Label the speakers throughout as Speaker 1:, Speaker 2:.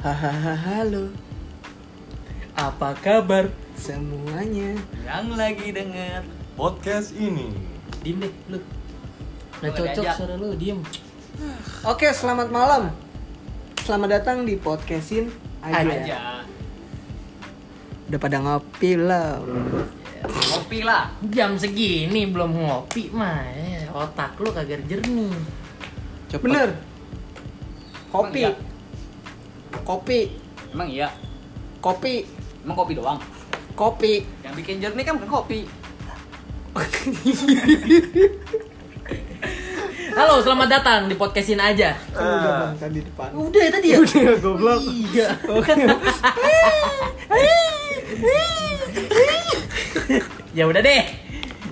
Speaker 1: Hahaha, halo
Speaker 2: Apa kabar
Speaker 1: semuanya.
Speaker 2: yang lagi denger?
Speaker 3: podcast ini.
Speaker 2: Diem deh lu.
Speaker 4: Nggak cocok suara lu, diem
Speaker 1: Oke, selamat malam. Selamat datang di podcastin aja.
Speaker 2: Aja.
Speaker 1: Udah pada ngopi lah.
Speaker 2: Ngopi lah.
Speaker 4: Jam segini belum ngopi mah eh, Otak lu kagak jernih
Speaker 3: Cepat.
Speaker 1: Bener. Kopi.
Speaker 2: Emang
Speaker 1: Kopi.
Speaker 2: Emang iya.
Speaker 1: Kopi.
Speaker 2: Emang kopi doang.
Speaker 1: Kopi.
Speaker 2: Yang bikin jernih kan bukan kopi.
Speaker 4: Halo, selamat datang di podcastin aja
Speaker 1: Kan udah bang tadi depan.
Speaker 4: Udah ya tadi ya?
Speaker 1: Udah goblok.
Speaker 4: Iya Ya udah deh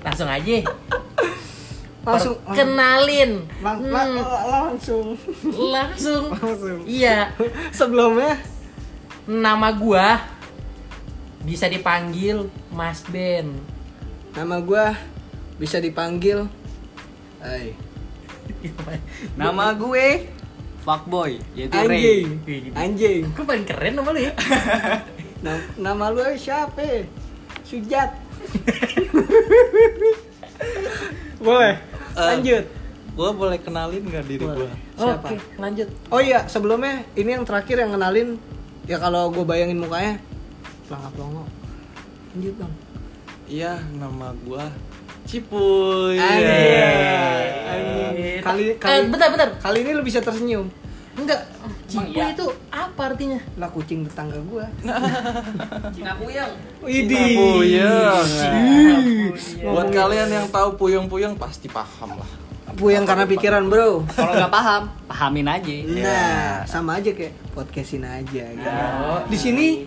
Speaker 4: Langsung aja
Speaker 1: Langsung
Speaker 4: Kenalin
Speaker 1: lang- lang- langsung.
Speaker 4: Hmm, Langsung
Speaker 1: Langsung.
Speaker 4: Iya
Speaker 1: Sebelumnya
Speaker 4: Nama gua Bisa dipanggil Mas Ben
Speaker 1: nama gua bisa dipanggil eh, Hai.
Speaker 2: Nama gue Fuckboy, yaitu Ray. Iya,
Speaker 1: Anjing.
Speaker 2: gitu.
Speaker 1: Anjing.
Speaker 4: Gue paling keren sama lu ya
Speaker 1: Nam- Nama lu siapa? Sujat. Boleh. Lanjut.
Speaker 3: Gua boleh kenalin nggak diri gua?
Speaker 1: Siapa?
Speaker 4: Oke, lanjut
Speaker 1: Oh iya, sebelumnya ini yang terakhir yang kenalin ya kalau gue bayangin mukanya pelangap longo. Lanjut bang.
Speaker 3: Iya, nama gua Cipuy.
Speaker 1: Anjir.
Speaker 4: Eh,
Speaker 1: Anjir. Iya. Kali
Speaker 4: eh,
Speaker 1: kali
Speaker 4: bentar, bentar.
Speaker 1: kali ini lu bisa tersenyum.
Speaker 4: Enggak, cipu
Speaker 2: iya.
Speaker 4: itu apa artinya?
Speaker 1: Lah kucing tetangga gue.
Speaker 2: Cina Puyeng.
Speaker 3: Nah,
Speaker 4: iya.
Speaker 3: Puyeng. Buat kalian yang tahu puyeng-puyeng pasti paham lah.
Speaker 1: Puyeng karena pikiran bro.
Speaker 2: Kalau nggak paham, pahamin aja.
Speaker 1: Nah, sama aja kayak podcastin aja gitu.
Speaker 2: Nah, oh, iya.
Speaker 1: Di sini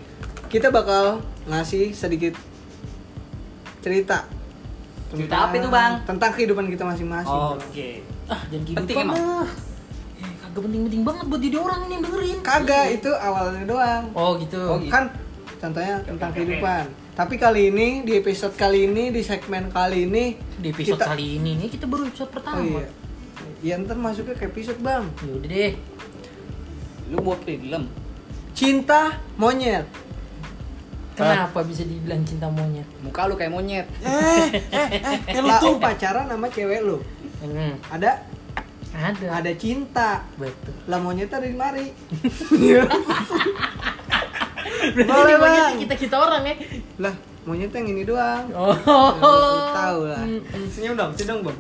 Speaker 1: kita bakal ngasih sedikit cerita.
Speaker 2: Cerita
Speaker 1: Tentang-
Speaker 2: apa itu, Bang? Oh.
Speaker 1: Tentang kehidupan kita masing-masing. Nah,
Speaker 2: Oke.
Speaker 4: Ah, jangan kehidupan
Speaker 2: Penting emang?
Speaker 4: lah. Eh, kagak penting-penting banget buat jadi orang ini yang dengerin.
Speaker 1: Kagak, itu awalnya doang.
Speaker 4: Oh gitu.
Speaker 1: Oh,
Speaker 2: iya.
Speaker 1: kan contohnya tentang kehidupan. Tapi kali ini di episode kali ini di segmen kali ini
Speaker 4: Di episode
Speaker 1: kita-
Speaker 4: kali ini nih kita baru episode pertama.
Speaker 1: Oh iya. Ya ntar masuknya ke episode, Bang.
Speaker 4: Ya udah deh.
Speaker 2: Lu buat film.
Speaker 1: Cinta monyet.
Speaker 4: Kenapa bisa dibilang cinta monyet?
Speaker 2: Muka lu kayak monyet.
Speaker 1: Ya, Lah, lu Eh, pacaran sama cewek lu.
Speaker 4: Hmm,
Speaker 1: Ada
Speaker 4: ada.
Speaker 1: ada cinta.
Speaker 4: Betul.
Speaker 1: Lah monyetnya ada di mari.
Speaker 4: Berarti
Speaker 1: Boleh,
Speaker 4: di monyet
Speaker 1: Bang.
Speaker 4: kita kita orang ya.
Speaker 1: lah monyet yang ini doang. Ya,
Speaker 4: Oh.
Speaker 1: Lu tahu lah.
Speaker 4: Hmm,
Speaker 1: Senyum dong, senyum dong, Bang.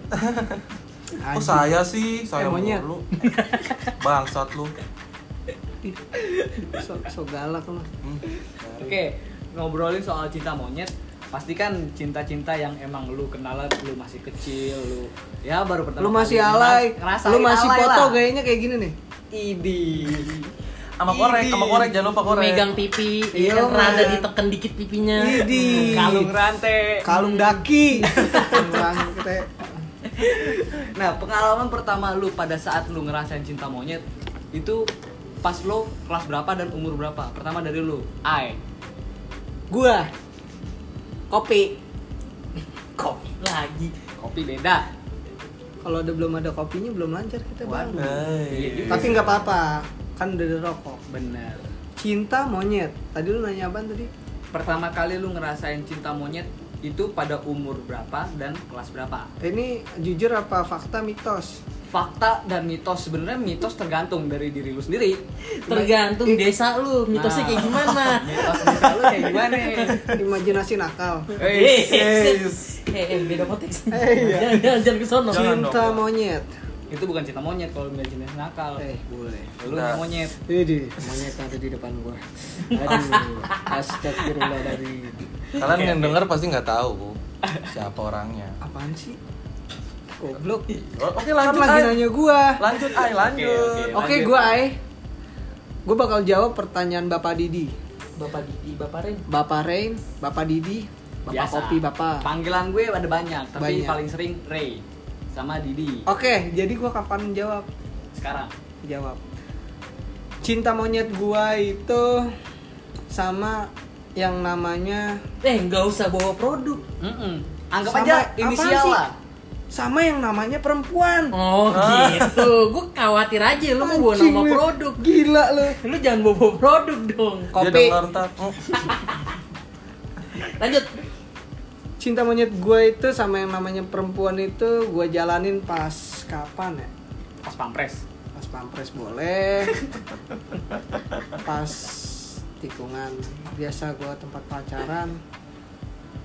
Speaker 3: Kok Oh, saya sih? Saya
Speaker 1: Eh, monyet.
Speaker 3: mulu. Bangsat lu.
Speaker 1: So, so galak lu.
Speaker 3: Hmm.
Speaker 2: Oke, ngobrolin soal cinta monyet, pastikan cinta-cinta yang emang lu kenal lu masih kecil, lu ya baru pertama.
Speaker 1: Lu masih
Speaker 2: kali
Speaker 1: alay.
Speaker 2: ngeras-
Speaker 1: Lu
Speaker 2: ngerasain
Speaker 1: masih
Speaker 2: alay
Speaker 1: foto
Speaker 2: lah.
Speaker 1: gayanya kayak gini nih.
Speaker 2: Idi.
Speaker 3: Sama korek, sama korek jangan lupa korek.
Speaker 4: Megang pipi,
Speaker 1: Iya,
Speaker 4: kan rada
Speaker 1: Bang.
Speaker 4: diteken dikit pipinya.
Speaker 1: Idi.
Speaker 2: Kalung rantai.
Speaker 1: Kalung daki. Kalung daki. ya.
Speaker 2: Nah, pengalaman pertama lu pada saat lu ngerasain cinta monyet itu pas lu kelas berapa dan umur berapa? Pertama dari lu. Ai.
Speaker 1: Gua kopi.
Speaker 2: Kopi.
Speaker 4: Lagi.
Speaker 2: Kopi beda.
Speaker 1: Kalau udah belum ada kopinya belum lancar kita, Bang.
Speaker 2: Iya
Speaker 3: Hai.
Speaker 2: juga.
Speaker 1: Tapi nggak apa-apa. Kan udah ada rokok.
Speaker 2: Bener.
Speaker 1: Cinta monyet. Tadi lu nanya apaan tadi?
Speaker 2: Pertama kali lu ngerasain cinta monyet itu pada umur berapa dan kelas berapa?
Speaker 1: Ini jujur apa fakta mitos?
Speaker 2: fakta dan mitos sebenarnya mitos tergantung dari diri lu sendiri
Speaker 4: Tergantung desa lu, mitosnya
Speaker 2: Nah.
Speaker 4: kayak gimana.
Speaker 2: mitos mitos lu kayak gimana
Speaker 1: Imajinasi nakal.
Speaker 2: Hey.
Speaker 3: Yes.
Speaker 4: Eh, eh, beda
Speaker 1: Eh,
Speaker 4: konteks.
Speaker 1: iya.
Speaker 4: Jangan, jangan, jangan ke sono.
Speaker 3: Jangan.
Speaker 1: Cinta
Speaker 3: dong.
Speaker 1: monyet.
Speaker 2: itu bukan cinta monyet kalau nggak jenis nakal
Speaker 1: Eh, boleh.
Speaker 2: lu nggak monyet
Speaker 1: Ini monyet ada di depan gua. Aduh, astagfirullah dari
Speaker 3: Kalian yang denger pasti nggak tahu siapa orangnya.
Speaker 1: apaan sih? Goblok.
Speaker 3: O-
Speaker 1: Kan
Speaker 3: Oke, lanjut.
Speaker 1: lagi
Speaker 3: Ay.
Speaker 1: nanya gua.
Speaker 3: Lanjut, Ay, lanjut.
Speaker 2: Oke,
Speaker 1: Oke,
Speaker 2: lanjut.
Speaker 1: gua Ai. Gua bakal jawab pertanyaan Bapak Didi.
Speaker 4: Bapak Didi, Bapak Ren.
Speaker 1: Bapak Rain, Bapak Didi, Bapak
Speaker 2: Biasa.
Speaker 1: Kopi, Bapak.
Speaker 2: panggilan gue ada banyak tapi
Speaker 1: Banyak. Oh.
Speaker 2: paling sering Ray sama Didi
Speaker 1: Oke, jadi gua kapan jawab?
Speaker 2: sekarang
Speaker 1: Jawab. Cinta monyet gua itu sama yang namanya
Speaker 4: Eh, nggak usah bawa produk.
Speaker 2: Mm-mm. anggap
Speaker 1: Sama-
Speaker 2: aja
Speaker 1: apaan
Speaker 2: inisial
Speaker 1: sih?
Speaker 2: lah
Speaker 1: sama yang namanya perempuan.
Speaker 4: Oh gitu, gue khawatir aja lu mau bawa
Speaker 1: Anjing
Speaker 4: nama
Speaker 1: lu.
Speaker 4: produk
Speaker 1: Gila lu.
Speaker 4: Lu jangan bawa produk dong
Speaker 3: Dia
Speaker 1: Kopi.
Speaker 3: denger ntar. Oh,
Speaker 4: Lanjut
Speaker 1: Cinta monyet gue itu sama yang namanya perempuan itu gue jalanin pas kapan ya?
Speaker 2: pas pampres
Speaker 1: Pas pampres boleh. pas tikungan biasa gue tempat pacaran.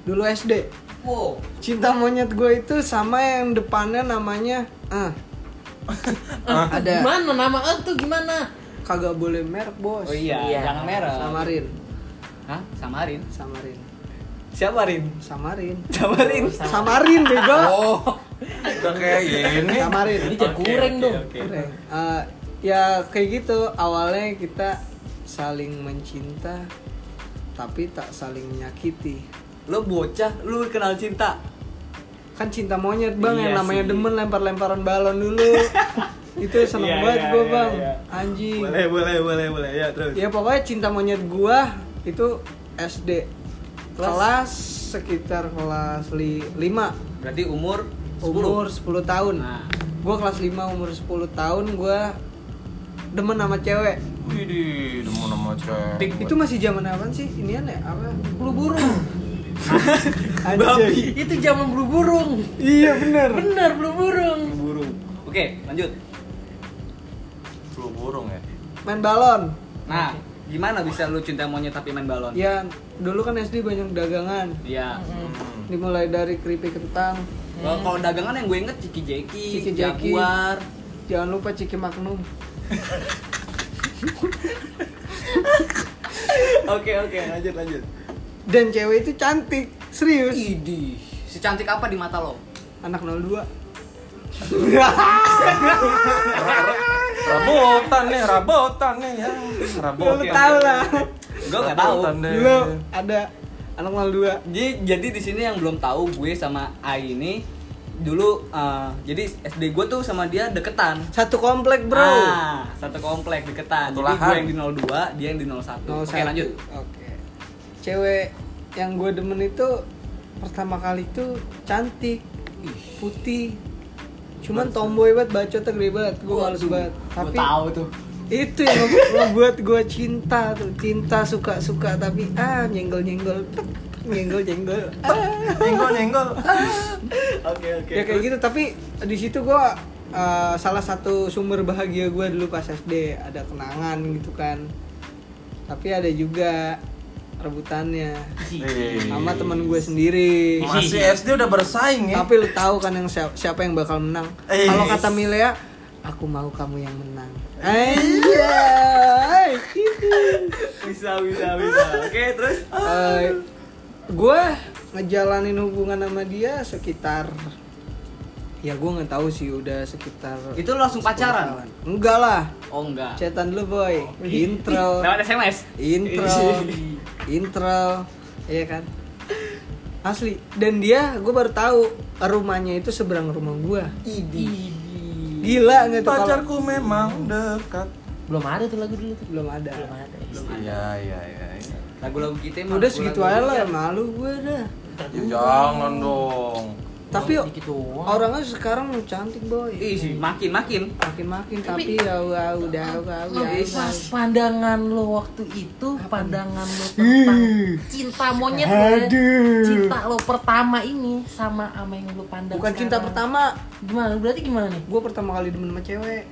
Speaker 1: Dulu SD.
Speaker 2: wow
Speaker 1: Cinta monyet gue itu sama yang depannya namanya eh
Speaker 4: Eh, tuh
Speaker 1: Ada.
Speaker 4: Gimana nama eh tuh gimana
Speaker 1: kagak boleh merek bos.
Speaker 2: oh iya,
Speaker 4: Iya.
Speaker 2: jangan merah
Speaker 1: Samarin,
Speaker 2: Hah? samarin
Speaker 1: samarin,
Speaker 2: siapa rin
Speaker 1: samarin.
Speaker 2: samarin
Speaker 1: Samarin bego.
Speaker 4: Oh
Speaker 3: udah kayak gini.
Speaker 1: Samarin.
Speaker 4: Ini jangan
Speaker 2: Oke,
Speaker 4: kureng
Speaker 2: oke,
Speaker 4: dong
Speaker 2: oke.
Speaker 1: Oke. Eh, ya kayak gitu awalnya kita saling mencinta tapi tak saling menyakiti.
Speaker 2: lo bocah lu kenal cinta
Speaker 1: Kan cinta monyet bang yang
Speaker 2: Iya
Speaker 1: namanya
Speaker 2: sih.
Speaker 1: demen lempar-lemparan balon dulu. Itu seneng
Speaker 2: Iya,
Speaker 1: banget
Speaker 2: iya,
Speaker 1: gue
Speaker 2: iya,
Speaker 1: bang,
Speaker 2: iya.
Speaker 1: anjing.
Speaker 2: boleh boleh boleh ya terus
Speaker 1: Ya pokoknya cinta monyet gua itu SD kelas,
Speaker 2: Kelas?
Speaker 1: sekitar kelas 5
Speaker 2: berarti umur 10
Speaker 1: umur 10 tahun.
Speaker 2: Nah.
Speaker 1: Gua kelas 5 umur 10 tahun gua demen sama cewek.
Speaker 3: Widih, nemu nama cewek.
Speaker 1: Itu masih zaman apa sih? Inian ya apa? Bulu burung. Anjing.
Speaker 4: Iya, Itu zaman bulu burung
Speaker 1: Iya bener.
Speaker 4: Bener bulu burung
Speaker 2: burung oke lanjut
Speaker 3: Bulu burung ya.
Speaker 1: Main balon.
Speaker 2: nah gimana bisa lu cinta monyet tapi main balon
Speaker 1: Ya dulu kan SD banyak dagangan.
Speaker 2: Iya.
Speaker 3: Hmm.
Speaker 1: Dimulai dari keripik kentang.
Speaker 2: Kalau- Kalau dagangan yang gue inget Ciki Jeki,
Speaker 1: Ciki Jeki.
Speaker 2: Jaguar,
Speaker 1: Jangan lupa ciki magnum.
Speaker 2: Oke oke lanjut lanjut.
Speaker 1: Dan cewek itu cantik, serius.
Speaker 2: Idi, secantik apa di mata lo?
Speaker 1: Anak 02.
Speaker 3: Rabotan nih, rabotan nih ya.
Speaker 1: Ya,
Speaker 3: Rabotan.
Speaker 1: lu tahu lah.
Speaker 2: Gue nggak tahu.
Speaker 3: Rabotan deh.
Speaker 1: Dulu ada anak 02.
Speaker 2: Jadi jadi di sini yang belum tahu gue sama A ini dulu eh, jadi SD gue tuh sama dia deketan.
Speaker 1: Satu komplek, Bro.
Speaker 2: Ah, satu komplek deketan.
Speaker 3: Satu
Speaker 2: jadi gue
Speaker 3: lahan.
Speaker 2: yang di 02, dia yang di 01.
Speaker 1: Nol
Speaker 2: Oke
Speaker 1: satu.
Speaker 2: lanjut.
Speaker 1: Oke. Cewek yang gue demen itu pertama kali itu cantik, putih. Cuman tomboy banget, bacotnya gede banget, gue males banget.
Speaker 2: Gue
Speaker 1: Tapi
Speaker 2: tahu tuh.
Speaker 1: itu yang nge- ngebuat gue cinta tuh, cinta suka-suka tapi ah nyenggol-nyenggol, pek, nyenggol-nyenggol. Ah.
Speaker 3: Nyenggol nyenggol.
Speaker 2: Oke oke.
Speaker 1: ya kayak gitu tapi di situ gua eh, salah satu sumber bahagia gua dulu pas SD ada kenangan gitu kan tapi ada juga rebutannya sama teman gue sendiri
Speaker 3: Masih SD udah bersaing ya.
Speaker 1: tapi lu tahu kan yang siapa, siapa yang bakal menang
Speaker 3: Eh.
Speaker 1: kalau kata Milea aku mau kamu yang menang Anjay.
Speaker 2: Bisa bisa bisa. Oke terus.
Speaker 1: gue Eh, ngejalanin hubungan sama dia sekitar ya gue nggak tahu sih udah sekitar
Speaker 2: Itu lu langsung
Speaker 1: 10
Speaker 2: pacaran?
Speaker 1: tahunan. enggak lah
Speaker 2: Oh enggak.
Speaker 1: chatan dulu boy intro
Speaker 2: Lewat SMS.
Speaker 1: intro intro iya kan asli dan dia gue baru tahu rumahnya itu seberang rumah gue
Speaker 2: Idi.
Speaker 1: gila nggak tuh kalau-
Speaker 3: Pacarku memang dekat.
Speaker 4: Belum ada tuh lagu dulu tuh
Speaker 1: belum ada
Speaker 4: Belum ada
Speaker 3: Iya iya iya. iya.
Speaker 2: Lagu-lagu kita emang
Speaker 1: udah segitu aja
Speaker 2: lagu-lagu
Speaker 1: lah
Speaker 2: kita.
Speaker 1: malu gue dah
Speaker 3: Ya, Jangan dong.
Speaker 1: tapi
Speaker 4: dikit doang.
Speaker 1: orangnya sekarang cantik boy
Speaker 2: Ih, sih, makin makin.
Speaker 1: makin-makin tapi ya udah udah udah
Speaker 4: ah,
Speaker 1: udah
Speaker 4: Iya, Pas pandangan lo waktu itu, pandangan lo tentang cinta monyet lo, ya. cinta lo pertama ini sama ama yang lo pandang
Speaker 1: bukan cinta
Speaker 4: sekarang.
Speaker 1: pertama
Speaker 4: Gimana? Berarti gimana nih?
Speaker 1: gue pertama kali demen sama cewek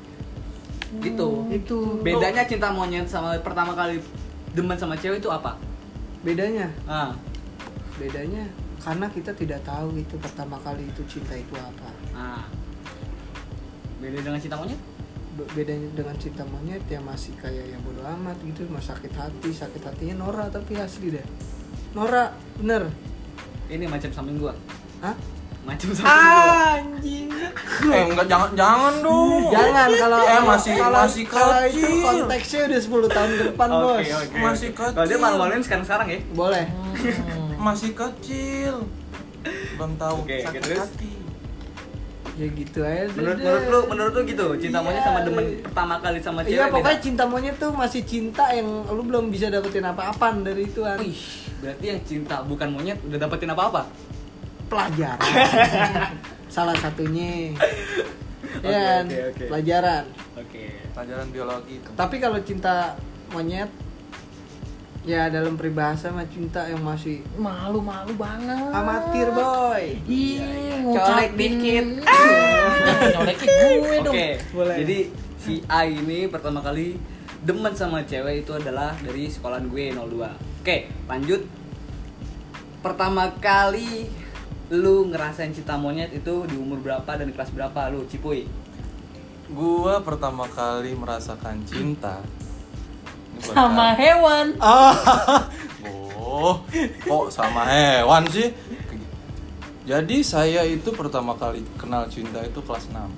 Speaker 2: Gitu.
Speaker 1: Hmm, itu
Speaker 2: Bedanya cinta monyet sama pertama kali demen sama cewek itu apa?
Speaker 1: bedanya
Speaker 2: Ah.
Speaker 1: bedanya karena kita tidak tahu itu pertama kali itu cinta itu apa
Speaker 2: ah. Beda dengan cinta monyet?
Speaker 1: Be- bedanya dengan cinta monyet ya masih kayak ya bodo amat gitu mas sakit hati sakit hatinya Nora tapi asli deh Nora bener
Speaker 2: Ini macam samping gua.
Speaker 1: Hah?
Speaker 2: Macam samping
Speaker 1: Ah,
Speaker 2: gua.
Speaker 1: anjing
Speaker 3: Eh enggak jangan jangan dong.
Speaker 1: jangan
Speaker 2: Iya,
Speaker 1: kalau
Speaker 3: Eh, masih-
Speaker 1: kalau,
Speaker 3: masih
Speaker 1: kalau itu
Speaker 3: kecil.
Speaker 1: konteksnya udah 10 tahun ke depan bos
Speaker 2: Oke, oke.
Speaker 3: Masih
Speaker 2: oke.
Speaker 3: kecil.
Speaker 2: Kalau dia malu-maluin sekarang-sekarang ya.
Speaker 1: boleh
Speaker 4: Hmm.
Speaker 3: Masih kecil. Belum tahu
Speaker 2: Oke, oke,
Speaker 3: sakit
Speaker 2: terus?
Speaker 3: hati.
Speaker 1: ya gitu aja deh.
Speaker 2: Menurut menurut lu menurut lu gitu, cinta
Speaker 1: Iya.
Speaker 2: monyet sama demen pertama kali sama cewek.
Speaker 1: Iya pokoknya
Speaker 2: beda.
Speaker 1: cinta monyet tuh masih cinta yang lu belum bisa dapetin apa-apaan dari itu kan.
Speaker 2: Wih, berarti yang cinta bukan monyet udah dapetin apa-apa?
Speaker 1: Pelajaran. salah satunya
Speaker 2: Oke,
Speaker 1: ya
Speaker 2: oke, oke.
Speaker 1: pelajaran
Speaker 2: Oke.
Speaker 3: pelajaran biologi itu
Speaker 1: tapi kalau cinta monyet ya dalam peribahasa mah cinta yang masih
Speaker 4: malu-malu banget
Speaker 1: amatir boy
Speaker 4: Iya,
Speaker 1: Colek
Speaker 4: ngucapin.
Speaker 1: dikit.
Speaker 4: Jangan Colekin gue dong.
Speaker 2: Oke.
Speaker 1: Boleh.
Speaker 2: Jadi si A ini pertama kali demen sama cewek itu adalah dari sekolahan gue 02. Oke, lanjut. Pertama kali lu ngerasain cinta monyet itu di umur berapa dan di kelas berapa lu cipuy
Speaker 3: gua pertama kali merasakan cinta Ini buat
Speaker 4: Sama
Speaker 3: kalian.
Speaker 4: hewan.
Speaker 3: Ah, oh, kok sama hewan sih? Jadi saya itu pertama kali kenal cinta itu kelas 6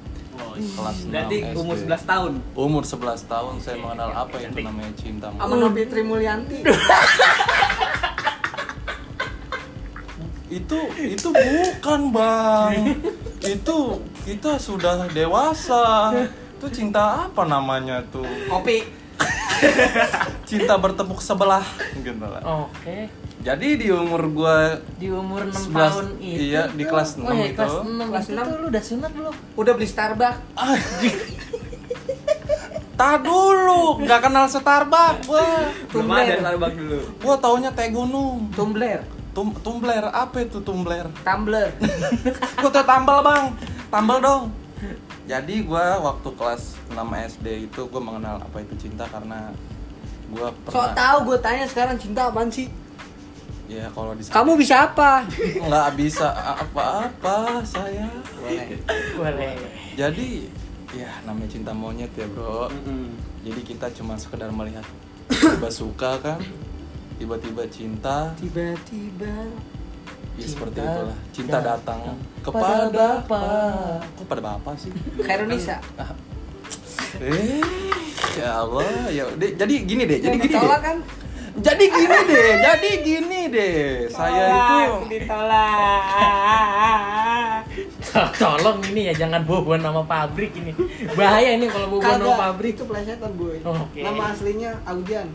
Speaker 3: Kelas
Speaker 2: berarti
Speaker 3: 6 SD.
Speaker 2: umur 11 tahun
Speaker 3: Umur 11 tahun saya mengenal apa itu namanya cinta
Speaker 1: sama
Speaker 2: Hmm.
Speaker 1: Nobi Trimulyanti
Speaker 3: Itu, itu bukan bang Itu, kita sudah dewasa Itu cinta apa namanya tuh?
Speaker 1: kopi
Speaker 3: Cinta bertepuk sebelah gitu lah.
Speaker 4: Oke.
Speaker 3: Jadi di umur gua
Speaker 4: Di umur 6
Speaker 3: 11
Speaker 4: tahun itu.
Speaker 3: iya, di kelas
Speaker 4: tuh-
Speaker 3: 6
Speaker 4: oh, iya,
Speaker 3: itu.
Speaker 4: Kelas 6
Speaker 1: Kelas
Speaker 4: itu
Speaker 1: 6.
Speaker 4: tuh lu udah sunat belum?
Speaker 1: udah beli Starbucks
Speaker 3: Tak dulu, nggak kenal Starbucks gua.
Speaker 2: belum
Speaker 1: Tumben.
Speaker 2: ada Starbucks dulu
Speaker 3: Gua taunya teh gunung.
Speaker 1: tumbler
Speaker 3: Tum tumbler apa itu tumbler?
Speaker 1: tumbler
Speaker 3: Gua tuh tambal, Bang. Tambal dong. Jadi gua waktu kelas 6 SD itu gua mengenal apa itu cinta karena gua
Speaker 1: so
Speaker 3: pernah
Speaker 1: tau gue tanya sekarang cinta apaan sih
Speaker 3: ya kalau di
Speaker 1: kamu bisa apa
Speaker 3: nggak bisa apa-apa saya.
Speaker 4: Boleh.
Speaker 3: Jadi ya namanya cinta monyet ya, Bro. Jadi kita cuma sekedar melihat tiba suka kan, tiba-tiba cinta,
Speaker 1: tiba-tiba
Speaker 3: Ya
Speaker 1: Cinta
Speaker 3: seperti itulah. Cinta datang
Speaker 4: kepada
Speaker 3: kepada
Speaker 4: Bapak.
Speaker 3: Bapak. Kok pada Bapak sih?
Speaker 1: Khairunisa
Speaker 3: Ah. Eh, ya Allah, ya udah. jadi gini deh, jadi gini deh.
Speaker 1: ditolak kan
Speaker 3: Jadi gini deh, jadi gini deh. Saya itu
Speaker 1: ditolak
Speaker 4: Tolong ini ya jangan bohongan nama pabrik ini. Bahaya ini kalau bohongan nama
Speaker 1: Kagak,
Speaker 4: pabrik.
Speaker 1: itu pelajaran boy
Speaker 4: Oke.
Speaker 1: Nama aslinya Audian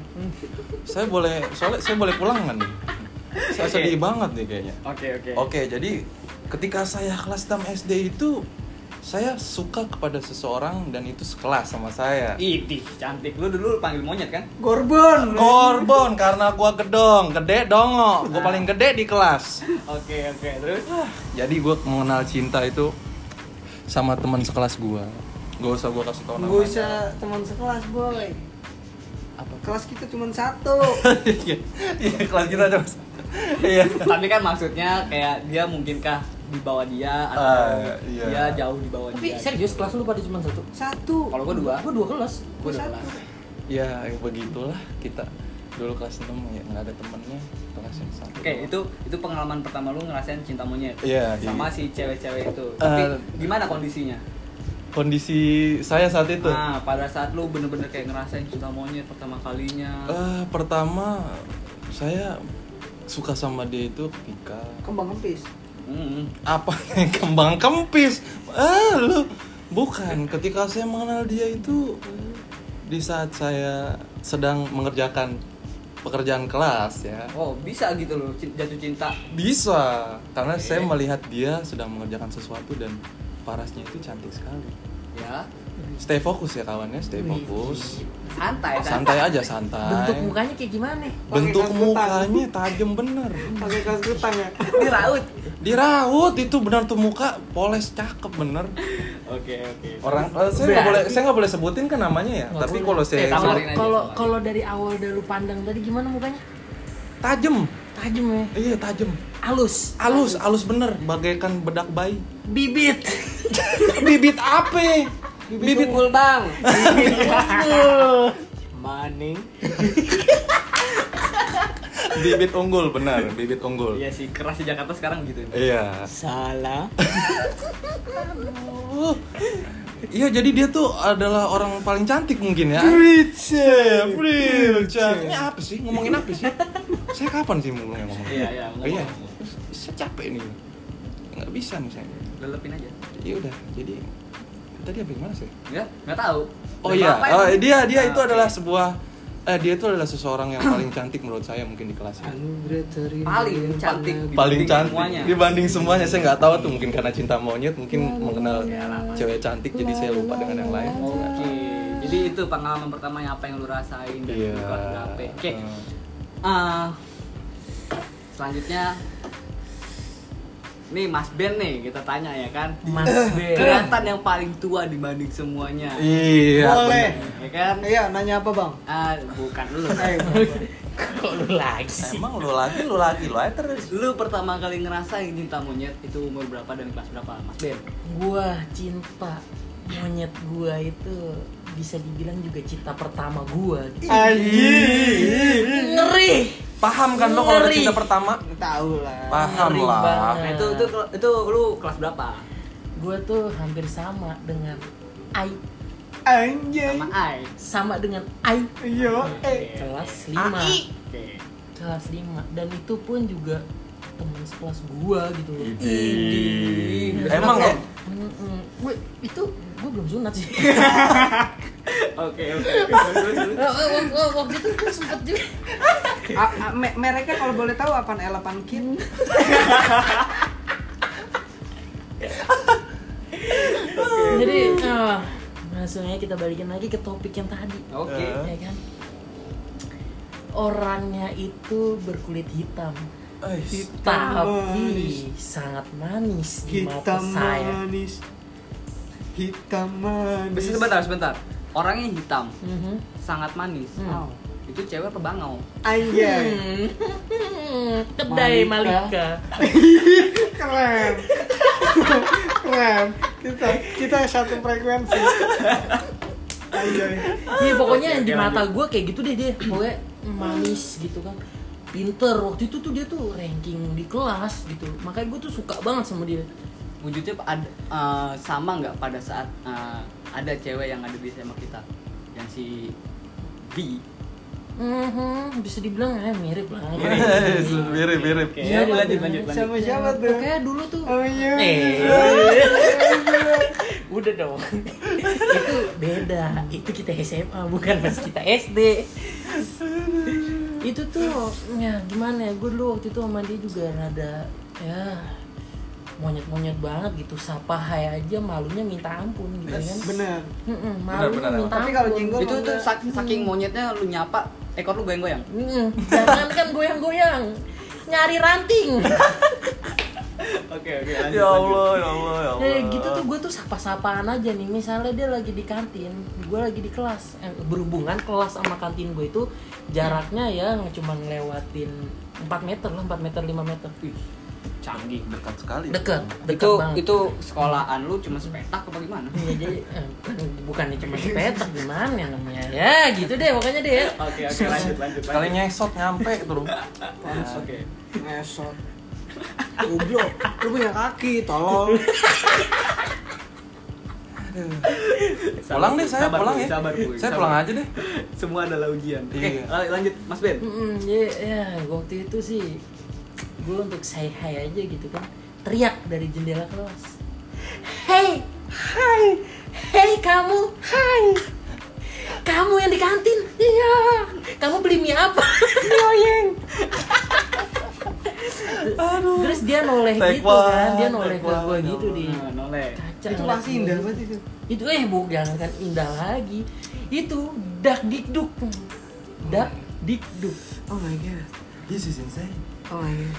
Speaker 3: saya boleh soalnya saya boleh pulang kan nih. Saya
Speaker 2: Oke.
Speaker 3: sedih banget nih kayaknya.
Speaker 2: oke oke
Speaker 3: Oke, jadi ketika saya kelas 6 SD itu saya suka kepada seseorang dan itu sekelas sama saya.
Speaker 2: Idih, cantik. Lu dulu panggil monyet kan?
Speaker 1: Gorbon
Speaker 3: Korbon karena gua gedong, gede dongo, gua paling gede di kelas.
Speaker 2: Oke, oke. Terus?
Speaker 3: Jadi gua mengenal cinta itu sama teman sekelas gua. Gak usah gua kasih tau namanya.
Speaker 1: Gue bisa teman sekelas boy
Speaker 3: Apa?
Speaker 1: Kelas kita cuma satu
Speaker 3: Iya, iya, kelas kita ada mas. Iya.
Speaker 2: Tapi kan maksudnya kayak dia mungkinkah di bawah dia atau
Speaker 3: Ah, iya.
Speaker 2: dia jauh di bawah
Speaker 4: Tapi
Speaker 2: dia.
Speaker 4: serius kelas lu pada cuma satu.
Speaker 1: Satu
Speaker 2: Kalau gua dua,
Speaker 4: Gua dua kelas.
Speaker 2: gua
Speaker 1: gua
Speaker 2: dua
Speaker 1: satu.
Speaker 2: kelas.
Speaker 3: Ya begitulah kita dulu kelas 6 ya nggak ada temennya kelas yang satu.
Speaker 2: Oke, itu itu pengalaman pertama lu ngerasain cinta monyet.
Speaker 3: Iya, iya.
Speaker 2: Sama si cewek-cewek itu. Tapi
Speaker 3: Eh,
Speaker 2: gimana kondisinya?
Speaker 3: Kondisi saya saat itu.
Speaker 2: Nah, pada saat lu bener-bener kayak ngerasain cinta monyet pertama kalinya.
Speaker 3: Eh, pertama saya suka sama dia itu ketika
Speaker 1: Kembang kempis
Speaker 2: Mm-mm.
Speaker 3: apa kembang kempis ah lu bukan ketika saya mengenal dia itu di saat saya sedang mengerjakan pekerjaan kelas ya
Speaker 2: Oh, bisa gitu loh cin- jatuh cinta.
Speaker 3: bisa karena saya melihat dia sedang mengerjakan sesuatu dan parasnya itu cantik sekali
Speaker 2: Ya.
Speaker 3: stay fokus ya kawannya stay fokus
Speaker 2: Santai kan?
Speaker 3: santai aja santai
Speaker 4: Bentuk mukanya kayak gimana?
Speaker 3: bentuk
Speaker 1: Pakai rambutan.
Speaker 3: mukanya tajam bener
Speaker 1: Pakai kaos kutang ya
Speaker 2: Diraut.
Speaker 3: diraut itu benar tuh muka poles cakep bener
Speaker 2: Oke, oke.
Speaker 3: orang eh, saya nggak
Speaker 4: Berarti-
Speaker 3: boleh saya nggak boleh sebutin kan namanya ya
Speaker 4: Nggak
Speaker 3: tapi
Speaker 4: boleh.
Speaker 3: kalau
Speaker 2: Eh,
Speaker 3: saya
Speaker 2: tawarin
Speaker 4: Kalau
Speaker 2: aja,
Speaker 4: kalau
Speaker 2: tawarin.
Speaker 4: kalau dari awal dari lu pandang tadi gimana mukanya?
Speaker 3: tajem
Speaker 4: Tajam ya.
Speaker 3: iya tajem
Speaker 4: Halus.
Speaker 3: alus alus bener bagaikan bedak bayi
Speaker 4: Bibit.
Speaker 3: bibit ape
Speaker 1: Bibit
Speaker 3: bibit
Speaker 1: unggul bang
Speaker 4: Unggul.
Speaker 1: Maning
Speaker 3: bibit unggul benar bibit unggul
Speaker 2: Iya sih, keras di Jakarta sekarang gitu.
Speaker 3: iya
Speaker 1: Salah
Speaker 3: Uh, iya jadi dia tuh adalah orang paling cantik mungkin ya
Speaker 1: Richard
Speaker 3: Prilcak ini apa sih ngomongin apa sih saya kapan sih mulai ngomong
Speaker 2: Iya, iya, ngomong.
Speaker 3: iya saya capek nih nggak bisa nih saya
Speaker 2: Lelepin aja.
Speaker 3: ya udah jadi tadi apa yang mana sih
Speaker 2: Enggak, enggak tahu.
Speaker 3: Oh
Speaker 2: Dan
Speaker 3: iya,
Speaker 2: bapak
Speaker 3: Oh,
Speaker 2: yang-
Speaker 3: dia dia
Speaker 2: Nah,
Speaker 3: itu
Speaker 2: oke.
Speaker 3: adalah sebuah eh dia itu adalah seseorang yang paling cantik menurut saya mungkin di kelas ya. ini.
Speaker 1: Anugerah terindah
Speaker 2: Paling
Speaker 1: yang
Speaker 2: cantik.
Speaker 1: pernah-
Speaker 3: paling
Speaker 2: Dibanding
Speaker 3: cantik
Speaker 2: semuanya.
Speaker 3: dibanding semuanya saya nggak tahu tuh mungkin karena cinta monyet mungkin
Speaker 4: Iya,
Speaker 3: mengenal cewek cantik jadi saya lupa dengan yang lain
Speaker 4: Oh,
Speaker 2: Oke, jadi itu pengalaman pertamanya apa yang lu rasain dari
Speaker 3: Iya.
Speaker 2: yeah. HP. Oke.
Speaker 3: Hmm.
Speaker 2: Eh, selanjutnya nih Mas Ben nih kita tanya ya kan.
Speaker 4: Mas Ben.
Speaker 2: Kelihatan yang paling tua dibanding semuanya.
Speaker 3: iya
Speaker 1: Boleh.
Speaker 2: Ya kan?
Speaker 1: Iya, nanya apa bang?
Speaker 2: Ah, bukan lu.
Speaker 1: Eh,
Speaker 4: Kok lu lagi?
Speaker 3: bener. emang lu lagi lu lagi lu aja terus
Speaker 2: Lu pertama kali ngerasain cinta monyet itu umur berapa dan kelas berapa, Mas Ben?
Speaker 4: Gua cinta monyet gua itu bisa dibilang juga cinta pertama gua. gitu.
Speaker 3: Anjir.
Speaker 4: Ngeri.
Speaker 3: Paham kan lo kalau udah
Speaker 4: Ngeri.
Speaker 3: cinta pertama?
Speaker 1: tahu lah.
Speaker 3: Paham
Speaker 4: Ngeri
Speaker 3: lah.
Speaker 4: banget.
Speaker 2: Nah, itu itu itu lu kelas berapa?
Speaker 4: Gua tuh hampir sama dengan Ai,
Speaker 1: Anjay.
Speaker 2: Sama Ai.
Speaker 4: sama dengan Ai
Speaker 1: Yo, eh.
Speaker 4: kelas 5.
Speaker 2: Oke.
Speaker 4: Kelas 5 dan itu pun juga teman sekelas gua gitu loh.
Speaker 3: Iya.
Speaker 2: Ini.
Speaker 3: Emang lo
Speaker 4: Mm-mm. Gue itu gue belum sunat sih.
Speaker 2: Oke, oke, oke. Terus, terus, terus.
Speaker 4: Waktu itu gue sempet juga.
Speaker 1: A- a- me- mereknya kalau boleh tahu apaan elepan kin?
Speaker 4: Jadi nah, langsung aja kita balikin lagi ke topik yang tadi.
Speaker 2: Oke.
Speaker 4: Ya kan? Orangnya itu berkulit hitam,
Speaker 3: ya?
Speaker 4: tapi
Speaker 1: manis.
Speaker 4: sangat manis di mata
Speaker 1: Hitam
Speaker 4: saya.
Speaker 1: manis. Hitam manis.
Speaker 2: Sebentar, sebentar. Orangnya hitam,
Speaker 4: Mhm.
Speaker 2: sangat manis.
Speaker 4: Hmm.
Speaker 2: Oh, itu cewek apa bangau?
Speaker 1: Anjay.
Speaker 4: Hmm. Kedai
Speaker 1: Malika.
Speaker 4: Malika.
Speaker 1: Keren. Keren. Kita kita satu frekuensi. Anjay.
Speaker 4: Iya pokoknya
Speaker 2: Oke, oke,
Speaker 4: di mata
Speaker 2: lanjut.
Speaker 4: gue kayak gitu deh dia pokoknya manis gitu kan pinter waktu itu tuh dia tuh ranking di kelas gitu makanya gue tuh suka banget sama dia
Speaker 2: Wujudnya ada, eh, sama nggak pada saat eh, ada cewek yang ada di SMA kita, yang si V.
Speaker 4: Mhm, bisa dibilang ya mirip lah
Speaker 3: mirip mirip.
Speaker 2: Oke,
Speaker 4: Iya,
Speaker 2: lanjut,
Speaker 4: lanjut,
Speaker 2: lanjut, lanjut.
Speaker 1: Sama siapa tuh?
Speaker 4: Pokoknya dulu tuh
Speaker 1: Oh iya.
Speaker 4: Eh. Udah dong Itu beda Itu kita SMA Bukan pas kita SD Itu tuh ya gimana ya Gue dulu waktu itu sama dia juga rada Ya Monyet-monyet banget gitu Sapa hai aja malunya minta ampun gitu kan
Speaker 1: Bener.
Speaker 4: Mm-mm, Malunya
Speaker 3: benar, emang.
Speaker 4: minta
Speaker 1: Tapi kalau
Speaker 4: ampun.
Speaker 1: jenggol
Speaker 2: Itu tuh sak- saking monyetnya lu nyapa, ekor lu goyang-goyang.
Speaker 4: Mm-mm, Jangan kan goyang-goyang Nyari ranting
Speaker 2: Oke, oke.
Speaker 3: Ya Allah, ya Allah, ya Allah.
Speaker 4: Eh, gitu tuh gue tuh sapa-sapaan aja nih misalnya dia lagi di kantin gue lagi di kelas Eh, berhubungan kelas sama kantin gue itu jaraknya ya cuma ngelewatin 4 meter lah 4 meter 5 meter
Speaker 2: Canggih.
Speaker 3: dekat sekali.
Speaker 4: deket deket
Speaker 2: Itu
Speaker 4: banget
Speaker 2: itu sekolahan lu cuma sepetak apa gimana?
Speaker 4: Iya, jadi eh, bukannya cuma sepetak gimana ya namanya ya gitu deh pokoknya deh ya.
Speaker 2: Oke, oke, lanjut, lanjut.
Speaker 3: Sekali nyesot nyampe terus.
Speaker 2: Oke.
Speaker 1: Ngesot. Goblok, lu punya kaki, tolol.
Speaker 3: Pulang deh saya
Speaker 2: Sabar,
Speaker 3: pulang
Speaker 2: Boy,
Speaker 3: ya.
Speaker 2: sabar, Boy,
Speaker 3: Saya
Speaker 2: sabar.
Speaker 3: pulang aja deh.
Speaker 2: Semua adalah ujian. Oke,
Speaker 3: Iya.
Speaker 2: lan- lanjut Mas Ben.
Speaker 4: Mm-mm, jadi, ya waktu itu sih gue untuk say hi aja gitu kan teriak dari jendela kelas hey hai hey kamu hai kamu yang di kantin iya kamu beli mie apa Noyeng terus dia noleh
Speaker 3: Take
Speaker 4: gitu kan
Speaker 3: one,
Speaker 4: dia noleh
Speaker 3: take
Speaker 4: ke gue
Speaker 3: one,
Speaker 4: gitu di
Speaker 2: Nah, noleh.
Speaker 4: kaca
Speaker 1: Itu
Speaker 4: ngeliat
Speaker 1: pasti
Speaker 4: gua
Speaker 1: indah
Speaker 4: gitu.
Speaker 1: banget itu.
Speaker 4: itu eh bu jangan kan indah lagi itu dak dikduk dak dikduk
Speaker 1: Oh my god.
Speaker 3: This is insane.
Speaker 1: Oh my god.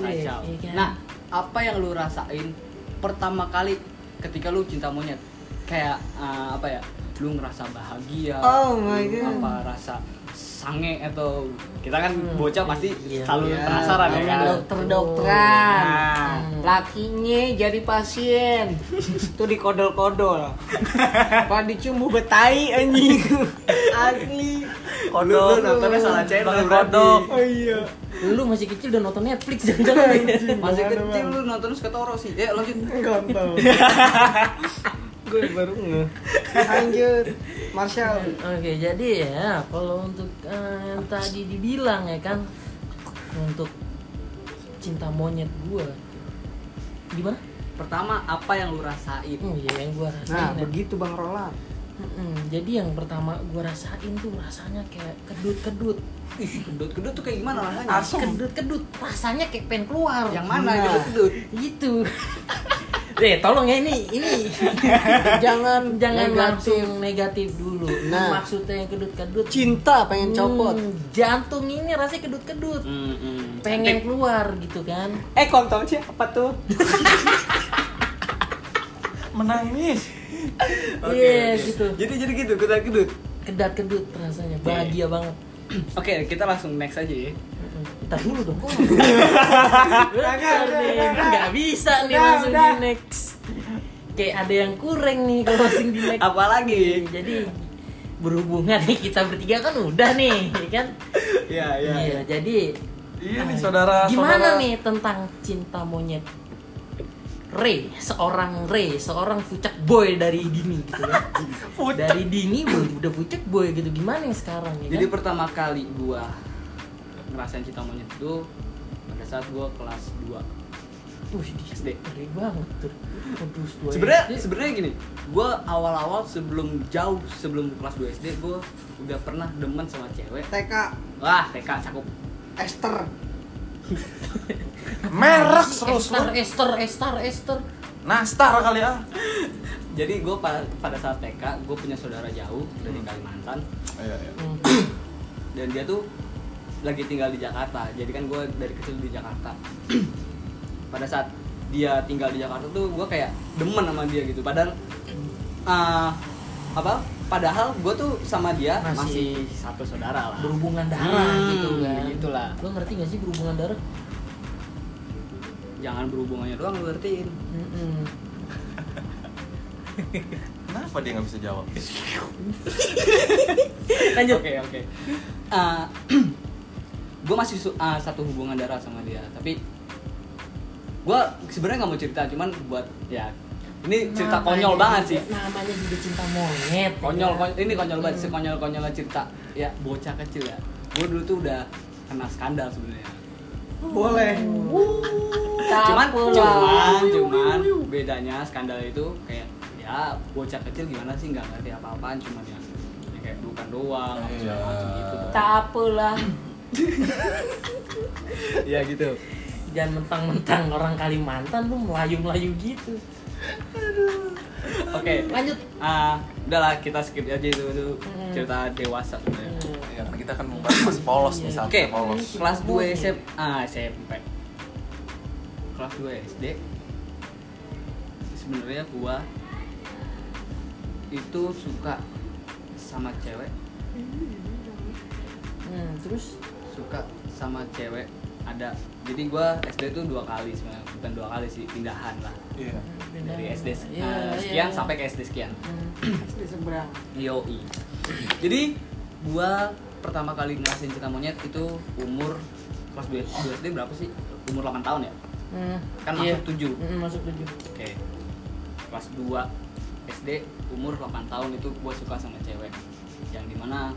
Speaker 4: Gitu deh,
Speaker 2: kacau.
Speaker 4: iya kan?
Speaker 2: Nah, apa yang lu rasain pertama kali ketika lu cinta monyet? Kayak eh, apa ya? Lu ngerasa bahagia?
Speaker 1: Oh my
Speaker 2: lu
Speaker 1: God.
Speaker 2: Apa rasa sange atau kita kan
Speaker 4: Hmm,
Speaker 2: bocah pasti
Speaker 4: iya.
Speaker 2: selalu
Speaker 1: Iya,
Speaker 2: penasaran ya
Speaker 4: Sama
Speaker 2: kan?
Speaker 4: dokter-dokteran.
Speaker 1: Nah, lakinya jadi pasien. Itu dikodol-kodol. Pak dicium bau betai anjing. Asli.
Speaker 2: Lu, lu nontonnya salah channel
Speaker 3: Bang
Speaker 2: berarti.
Speaker 3: Kodok.
Speaker 1: Oh iya.
Speaker 4: Lu masih kecil udah nonton Netflix jangan-jangan. ya?
Speaker 2: Masih
Speaker 1: Gimana,
Speaker 2: kecil
Speaker 1: Bang?
Speaker 2: lu nonton suka toro sih. Eh, lanjut.
Speaker 1: Enggak tahu. Gue baru nge. Lanjut. Marshall.
Speaker 4: Oke, jadi ya kalau untuk eh, yang tadi dibilang ya kan untuk cinta monyet gua gimana?
Speaker 2: Pertama apa yang lu rasain?
Speaker 4: Oh iya yang gua
Speaker 1: Nah,
Speaker 4: rasain. ya.
Speaker 1: begitu Bang Roland.
Speaker 4: Mm-mm, jadi yang pertama gue rasain tuh rasanya kayak kedut-kedut
Speaker 2: Ih, kedut-kedut tuh kayak gimana rasanya?
Speaker 4: kedut-kedut rasanya kayak pengen keluar
Speaker 2: Yang mana
Speaker 1: Nah.
Speaker 2: kedut-kedut?
Speaker 4: gitu Eh, tolong ya ini ini
Speaker 1: jangan
Speaker 4: jangan
Speaker 1: negatif.
Speaker 4: langsung negatif dulu.
Speaker 1: Nah.
Speaker 4: Maksudnya yang kedut-kedut
Speaker 1: cinta pengen copot
Speaker 4: Hmm, jantung ini rasanya kedut-kedut. Hmm,
Speaker 2: Hmm.
Speaker 4: Pengen
Speaker 2: Pengen
Speaker 4: keluar gitu kan.
Speaker 1: eh kontol sih apa tuh
Speaker 3: menangis
Speaker 2: Oke,
Speaker 4: Iya,
Speaker 2: oke.
Speaker 4: gitu.
Speaker 2: Jadi jadi gitu, kedut-kedut.
Speaker 4: Kedat-kedut rasanya. Bahagia banget.
Speaker 2: Oke, kita langsung next aja ya.
Speaker 4: Ntar dulu dong. gua mau- Bentar nih, kan nggak bisa nih
Speaker 1: Udah,
Speaker 4: langsung di
Speaker 1: udah.
Speaker 4: next. Kayak ada yang kurang nih kalau langsung di next.
Speaker 2: Apalagi?
Speaker 4: Jadi berhubungan nih kita bertiga kan udah nih, ya kan?
Speaker 2: Iya,
Speaker 4: Iya, jadi
Speaker 3: iya nih
Speaker 4: eh,
Speaker 3: saudara
Speaker 4: Gimana
Speaker 3: saudara.
Speaker 4: nih tentang cinta monyet? Ray, seorang Ray, seorang pucak boy dari dini gitu ya. dari dini udah, udah pucak boy gitu gimana yang sekarang ya
Speaker 2: Jadi
Speaker 4: kan?
Speaker 2: pertama kali gua ngerasain cinta monyet itu pada saat gua kelas 2
Speaker 4: Wih, di
Speaker 2: SD.
Speaker 4: Ngeri banget tuh. Aduh, dua
Speaker 2: Sebenarnya
Speaker 4: SD.
Speaker 2: sebenarnya gini, gua awal-awal sebelum jauh sebelum kelas 2 SD gua udah pernah demen sama cewek.
Speaker 1: TK
Speaker 2: Wah, TK cakup.
Speaker 1: Esther
Speaker 3: merek terus lu
Speaker 4: Estar, Estar, Estar, Estar.
Speaker 3: nastar kali ah
Speaker 2: Jadi gua pa- pada saat TK gua punya saudara jauh dari Kalimantan
Speaker 3: iya iya
Speaker 4: Hmm,
Speaker 2: dan dia tuh lagi tinggal di Jakarta. Jadi kan gua dari kecil di Jakarta. pada saat dia tinggal di Jakarta tuh gua kayak demen sama dia gitu. Padahal eh, apa? Padahal gua tuh sama dia masih,
Speaker 4: Masih-
Speaker 2: satu saudara lah.
Speaker 4: Berhubungan darah
Speaker 2: Hmm,
Speaker 4: gitu kan.
Speaker 2: begitulah.
Speaker 4: Lo ngerti gak sih berhubungan darah?
Speaker 2: Jangan berhubungannya doang lu ngertiin.
Speaker 4: Hmm,
Speaker 3: kenapa dia nggak bisa jawab
Speaker 2: Lanjut. Oke, oke. gue masih su- ah, satu hubungan darah sama dia, tapi gue sebenarnya nggak mau cerita, cuman buat ya ini cerita
Speaker 4: Namanya
Speaker 2: konyol
Speaker 4: juga-
Speaker 2: banget sih.
Speaker 4: Namanya juga cinta monyet. ya
Speaker 2: Konyol,
Speaker 4: kan?
Speaker 2: konyol ini konyol banget,
Speaker 4: Hmm.
Speaker 2: sekonyol konyolnya cerita ya bocah kecil ya. Gue dulu tuh udah kena skandal sebenarnya.
Speaker 1: boleh
Speaker 2: Cuman,
Speaker 4: Takut
Speaker 2: cuman,
Speaker 4: lah.
Speaker 2: cuman bedanya skandal itu kayak ya bocah kecil gimana sih nggak ngerti apa-apaan, cuman ya, ya kayak bukan doang, apa segala macam gitu.
Speaker 4: Tak apalah.
Speaker 2: Ya gitu.
Speaker 4: Jangan mentang-mentang orang Kalimantan lu melayu-melayu gitu.
Speaker 2: Oke.
Speaker 4: Lanjut.
Speaker 2: ah udahlah kita skip aja itu, itu
Speaker 4: Hmm.
Speaker 2: cerita dewasa sebenarnya.
Speaker 3: ya kan kita kan membahas masih polos nih saatnya
Speaker 2: Oke,
Speaker 3: polos
Speaker 2: kelas 2 SMP, ah SMP. Kelas 2 SD. Sebenarnya gua itu suka sama cewek,
Speaker 4: Hmm, terus
Speaker 2: suka sama cewek ada. Jadi gua SD tuh dua kali sebenarnya, bukan dua kali sih, pindahan lah.
Speaker 3: iya
Speaker 2: Dari SD se-
Speaker 4: Iya, iya.
Speaker 2: ah, sekian sampai ke SD sekian.
Speaker 4: Hmm.
Speaker 1: di seberang
Speaker 2: Yoi. Jadi gua pertama kali ngerasain cinta monyet itu umur kelas 2 2 SD berapa sih? Umur 8 tahun ya?
Speaker 4: Hmm,
Speaker 2: Kan
Speaker 4: iya.
Speaker 2: masuk 7.
Speaker 4: Mm, masuk tujuh.
Speaker 2: Oke. Kelas 2 SD umur 8 tahun itu gua suka sama cewek. Yang dimana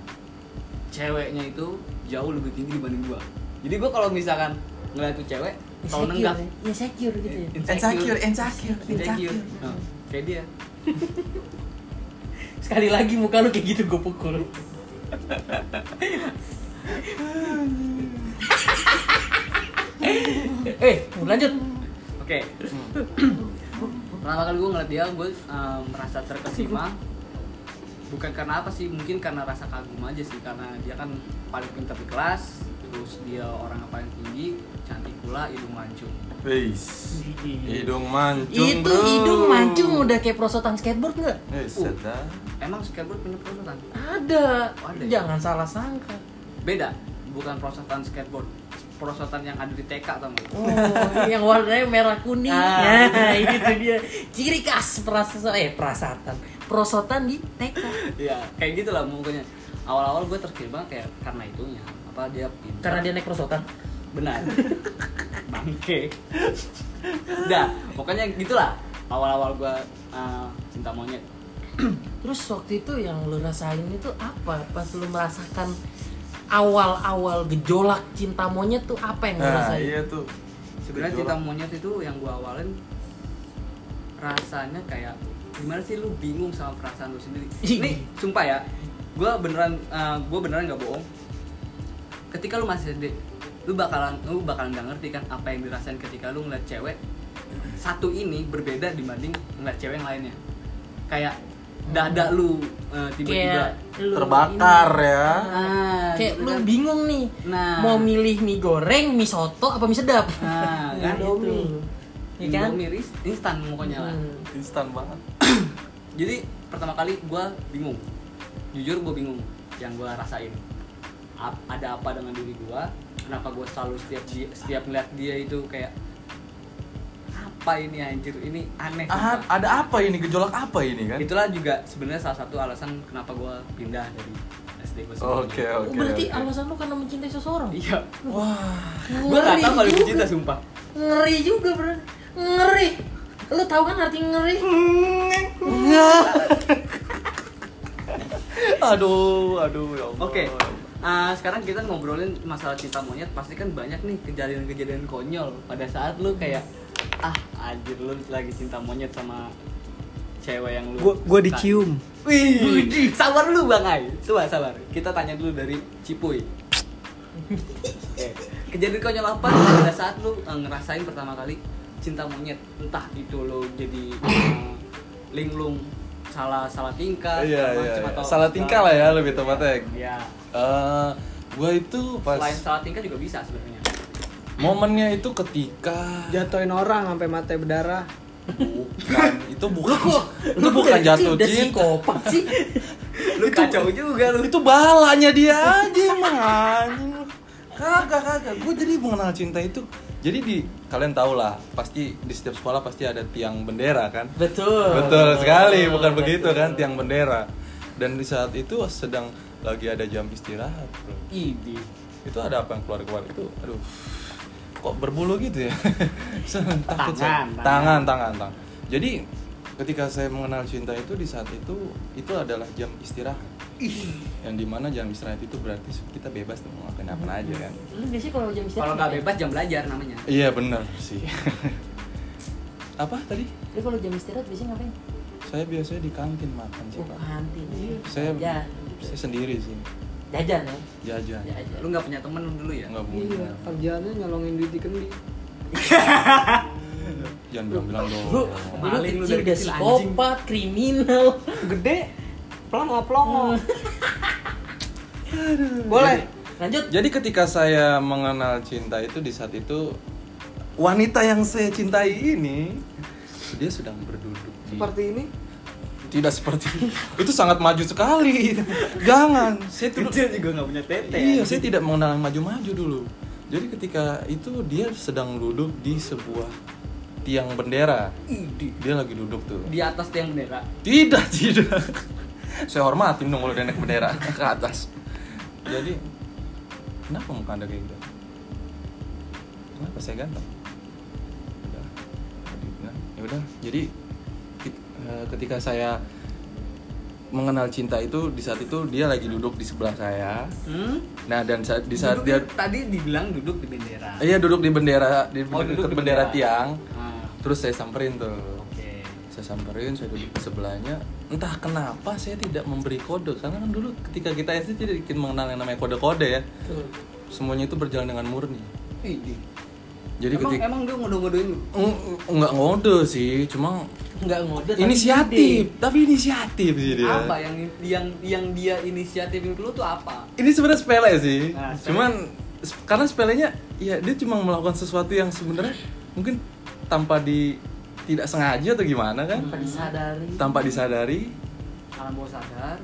Speaker 2: ceweknya itu jauh lebih tinggi dibanding gua. Jadi gua kalau misalkan ngeliat tuh cewek, kalau Iya. nenggak
Speaker 4: ya. Insecure gitu ya.
Speaker 2: insecure,
Speaker 3: insecure
Speaker 2: insecure. Nah, kayak dia.
Speaker 4: Sekali lagi muka lu kayak gitu gue pukul. eh, lanjut.
Speaker 2: Oke. Hmm. Pertama kali gue ngeliat dia, gue merasa terkesima. Bukan karena apa sih, mungkin karena rasa kagum aja sih. Karena dia kan paling pintar di kelas, terus dia orang yang paling tinggi, cantik pula, hidung mancung.
Speaker 3: Wis. hidung mancung
Speaker 4: Itu
Speaker 3: bro.
Speaker 4: hidung mancung udah Uh. kayak perosotan skateboard nggak?
Speaker 3: Eh, sedap.
Speaker 2: Emang skateboard punya perosotan?
Speaker 4: Ada.
Speaker 2: Oh, ada ya?
Speaker 4: Jangan salah sangka.
Speaker 2: Beda, bukan perosotan skateboard. Perosotan yang ada di TK tau nggak?
Speaker 4: Oh, yang warnanya merah kuning.
Speaker 2: Ah.
Speaker 4: Nah, itu dia. Ciri khas perasaan eh perasaan. Perosotan di TK.
Speaker 2: Iya, kayak gitu lah mukanya. Awal-awal gue terkesima kayak karena itunya. Apa dia pintar?
Speaker 4: Karena dia naik perosotan.
Speaker 2: benar bangke dah pokoknya gitulah awal-awal gua uh, cinta monyet
Speaker 4: Terus waktu itu yang lu rasain itu apa? Pas lu merasakan awal-awal gejolak cinta monyet tuh apa yang lu
Speaker 3: Nah,
Speaker 4: rasain?
Speaker 3: iya tuh.
Speaker 2: sebenarnya cinta monyet itu yang gua awalin rasanya kayak gimana sih lu bingung sama perasaan lu sendiri
Speaker 4: Ih.
Speaker 2: ini sumpah ya gue beneran gue beneran nggak bohong ketika lu masih SD lu bakalan lu bakalan nggak ngerti kan apa yang dirasain ketika lu ngeliat cewek satu ini berbeda dibanding ngeliat cewek yang lainnya kayak dada lu eh, tiba-tiba
Speaker 4: kayak lu
Speaker 3: Terbakar
Speaker 4: ini.
Speaker 3: ya.
Speaker 2: Ah,
Speaker 4: kayak
Speaker 2: gitu
Speaker 4: lu
Speaker 2: kan.
Speaker 4: bingung nih
Speaker 2: Nah.
Speaker 4: mau milih mie goreng mie soto apa mie sedap
Speaker 2: Nah, kan
Speaker 4: Indomie.
Speaker 2: itu.
Speaker 4: Iya kan?
Speaker 2: Indomie ris- instan pokoknya lah.
Speaker 4: Hmm.
Speaker 3: Instan banget.
Speaker 2: Jadi pertama kali gua bingung. Jujur gua bingung yang gua rasain. Ap- ada apa dengan diri gua? Kenapa gua selalu setiap di- setiap ngeliat dia itu kayak apa ini anjir? Ini aneh.
Speaker 3: Ah,
Speaker 2: sumpah."
Speaker 3: ada apa ini? Gejolak apa ini kan?
Speaker 2: Itulah juga sebenarnya salah satu alasan kenapa gua pindah dari SD gua sebelumnya.
Speaker 3: Oke,
Speaker 4: Oh,
Speaker 3: oke.
Speaker 4: berarti
Speaker 3: oke.
Speaker 4: alasan lu karena mencintai seseorang
Speaker 2: Iya.
Speaker 3: Wah,
Speaker 2: Gua gak tau kalau
Speaker 4: Ngeri
Speaker 2: itu
Speaker 4: juga.
Speaker 2: cinta sumpah.
Speaker 4: ngeri juga bro ngeri lu tahu kan arti ngeri
Speaker 3: aduh, aduh ya Allah.
Speaker 2: Oke, ah, sekarang kita ngobrolin masalah cinta monyet. Pasti kan banyak nih kejadian-kejadian konyol pada saat lu kayak ah anjir lu lagi cinta monyet sama cewek yang lu.
Speaker 1: Gua gua
Speaker 2: suka."
Speaker 1: dicium.
Speaker 2: Wih, sabar dulu Bang Ai. Coba sabar. Kita tanya dulu dari Cipuy. Oke, Kejadian konyol apa pada saat lu eh, ngerasain pertama kali cinta monyet? Entah itu lu jadi eh, linglung salah salah tingkah,
Speaker 3: Iya,
Speaker 2: segala
Speaker 3: iya.
Speaker 2: macem,
Speaker 3: iya.
Speaker 2: atau-
Speaker 3: Salah tingkah lah ya lebih tepatnya.
Speaker 2: Iya.
Speaker 3: Eh, gua itu pas
Speaker 2: Selain salah tingkah juga bisa sebenarnya.
Speaker 3: momennya itu ketika
Speaker 1: Jatuhin orang sampai mata berdarah.
Speaker 3: bukan itu bukan itu bukan jatuh
Speaker 4: udah
Speaker 3: cinta
Speaker 4: psikopat sih
Speaker 2: Lu kacau juga lu.
Speaker 3: itu balanya dia aja emang anjing lu. kagak kagak gue jadi mengenal cinta itu jadi di kalian tau lah pasti di setiap sekolah pasti ada tiang bendera kan
Speaker 4: betul
Speaker 3: betul sekali bukan begitu kan tiang bendera dan di saat itu sedang lagi ada jam istirahat bro
Speaker 2: Idi.
Speaker 3: itu ada apa yang keluar keluar itu aduh kok berbulu gitu ya Saya takut saya. tangan
Speaker 2: Tangan,
Speaker 3: tangan tangan jadi ketika saya mengenal cinta itu di saat itu itu adalah jam istirahat yang dimana jam istirahat itu berarti kita bebas tuh mau ngapain apa aja kan
Speaker 4: lu biasanya kalau jam istirahat
Speaker 2: Kalau nggak bebas jam belajar namanya.
Speaker 3: iya benar sih apa tadi
Speaker 4: lu kalau jam istirahat biasanya ngapain
Speaker 3: saya biasanya di kantin makan sih
Speaker 4: oh,
Speaker 3: pak
Speaker 4: nanti
Speaker 3: saya
Speaker 4: ya
Speaker 3: saya sendiri sih
Speaker 4: jajan ya
Speaker 3: jajan
Speaker 4: jajan
Speaker 2: Lu nggak punya temen lu dulu ya?
Speaker 3: nggak
Speaker 1: Iya,
Speaker 3: punya
Speaker 1: kerjaannya nyolongin duit dikendi.
Speaker 3: jangan bilang bilang dong
Speaker 4: lu lu
Speaker 2: Maling lu
Speaker 4: kecil udah
Speaker 2: dari kecil, anjing.
Speaker 4: psikopat kriminal
Speaker 1: Gede pelang plong Boleh.
Speaker 4: lanjut
Speaker 3: Jadi ketika saya mengenal cinta itu di saat itu wanita yang saya cintai ini dia sedang berduduk di-
Speaker 1: Seperti ini.
Speaker 3: tidak seperti itu sangat maju sekali. Jangan, saya tidak
Speaker 2: Kecil juga nggak punya tete.
Speaker 3: Iya, saya tidak mengenal yang maju-maju dulu. Jadi ketika itu dia sedang duduk di sebuah tiang bendera.
Speaker 2: Idi.
Speaker 3: Dia lagi duduk tuh.
Speaker 2: Di atas tiang bendera.
Speaker 3: Tidak, tidak. Saya hormatin dong kalau dia naik bendera ke atas. Jadi, kenapa muka anda kayak gitu? Kenapa saya ganteng? Udah. Jadi, nah, Ya udah, jadi ki- eh, ketika saya mengenal cinta itu di saat itu dia lagi duduk di sebelah saya.
Speaker 2: Hmm?
Speaker 3: Nah, dan saat, di saat
Speaker 2: Duduk-
Speaker 3: dia
Speaker 2: tadi dibilang duduk di bendera.
Speaker 3: eh, iya duduk di bendera di,
Speaker 2: Oh,
Speaker 3: dekat
Speaker 2: duduk di
Speaker 3: bendera
Speaker 2: bendera.
Speaker 3: tiang,
Speaker 2: Ah,
Speaker 3: terus saya samperin tuh
Speaker 2: oke.
Speaker 3: saya samperin saya duduk di sebelahnya entah kenapa saya tidak memberi kode karena kan dulu ketika kita SD tidak bikin mengenal yang namanya kode-kode ya semuanya itu berjalan dengan murni
Speaker 2: Idi.
Speaker 3: jadi
Speaker 2: emang,
Speaker 3: ketika
Speaker 2: emang dia ngodoh-ngodohin lu.
Speaker 3: Eng- nggak ngode sih cuma
Speaker 4: nggak ngode tapi
Speaker 3: inisiatif tapi inisiatif sih dia
Speaker 2: Apa yang yang yang dia inisiatifin ke lu tuh apa?
Speaker 3: ini sebenarnya sepele sih
Speaker 2: Nah, sepele.
Speaker 3: cuman se- karena sepelenya ya dia cuma melakukan sesuatu yang sebenarnya mungkin tanpa di tidak sengaja atau gimana kan
Speaker 4: tanpa disadari
Speaker 3: tanpa disadari Ah,
Speaker 2: Alam bawah sadar.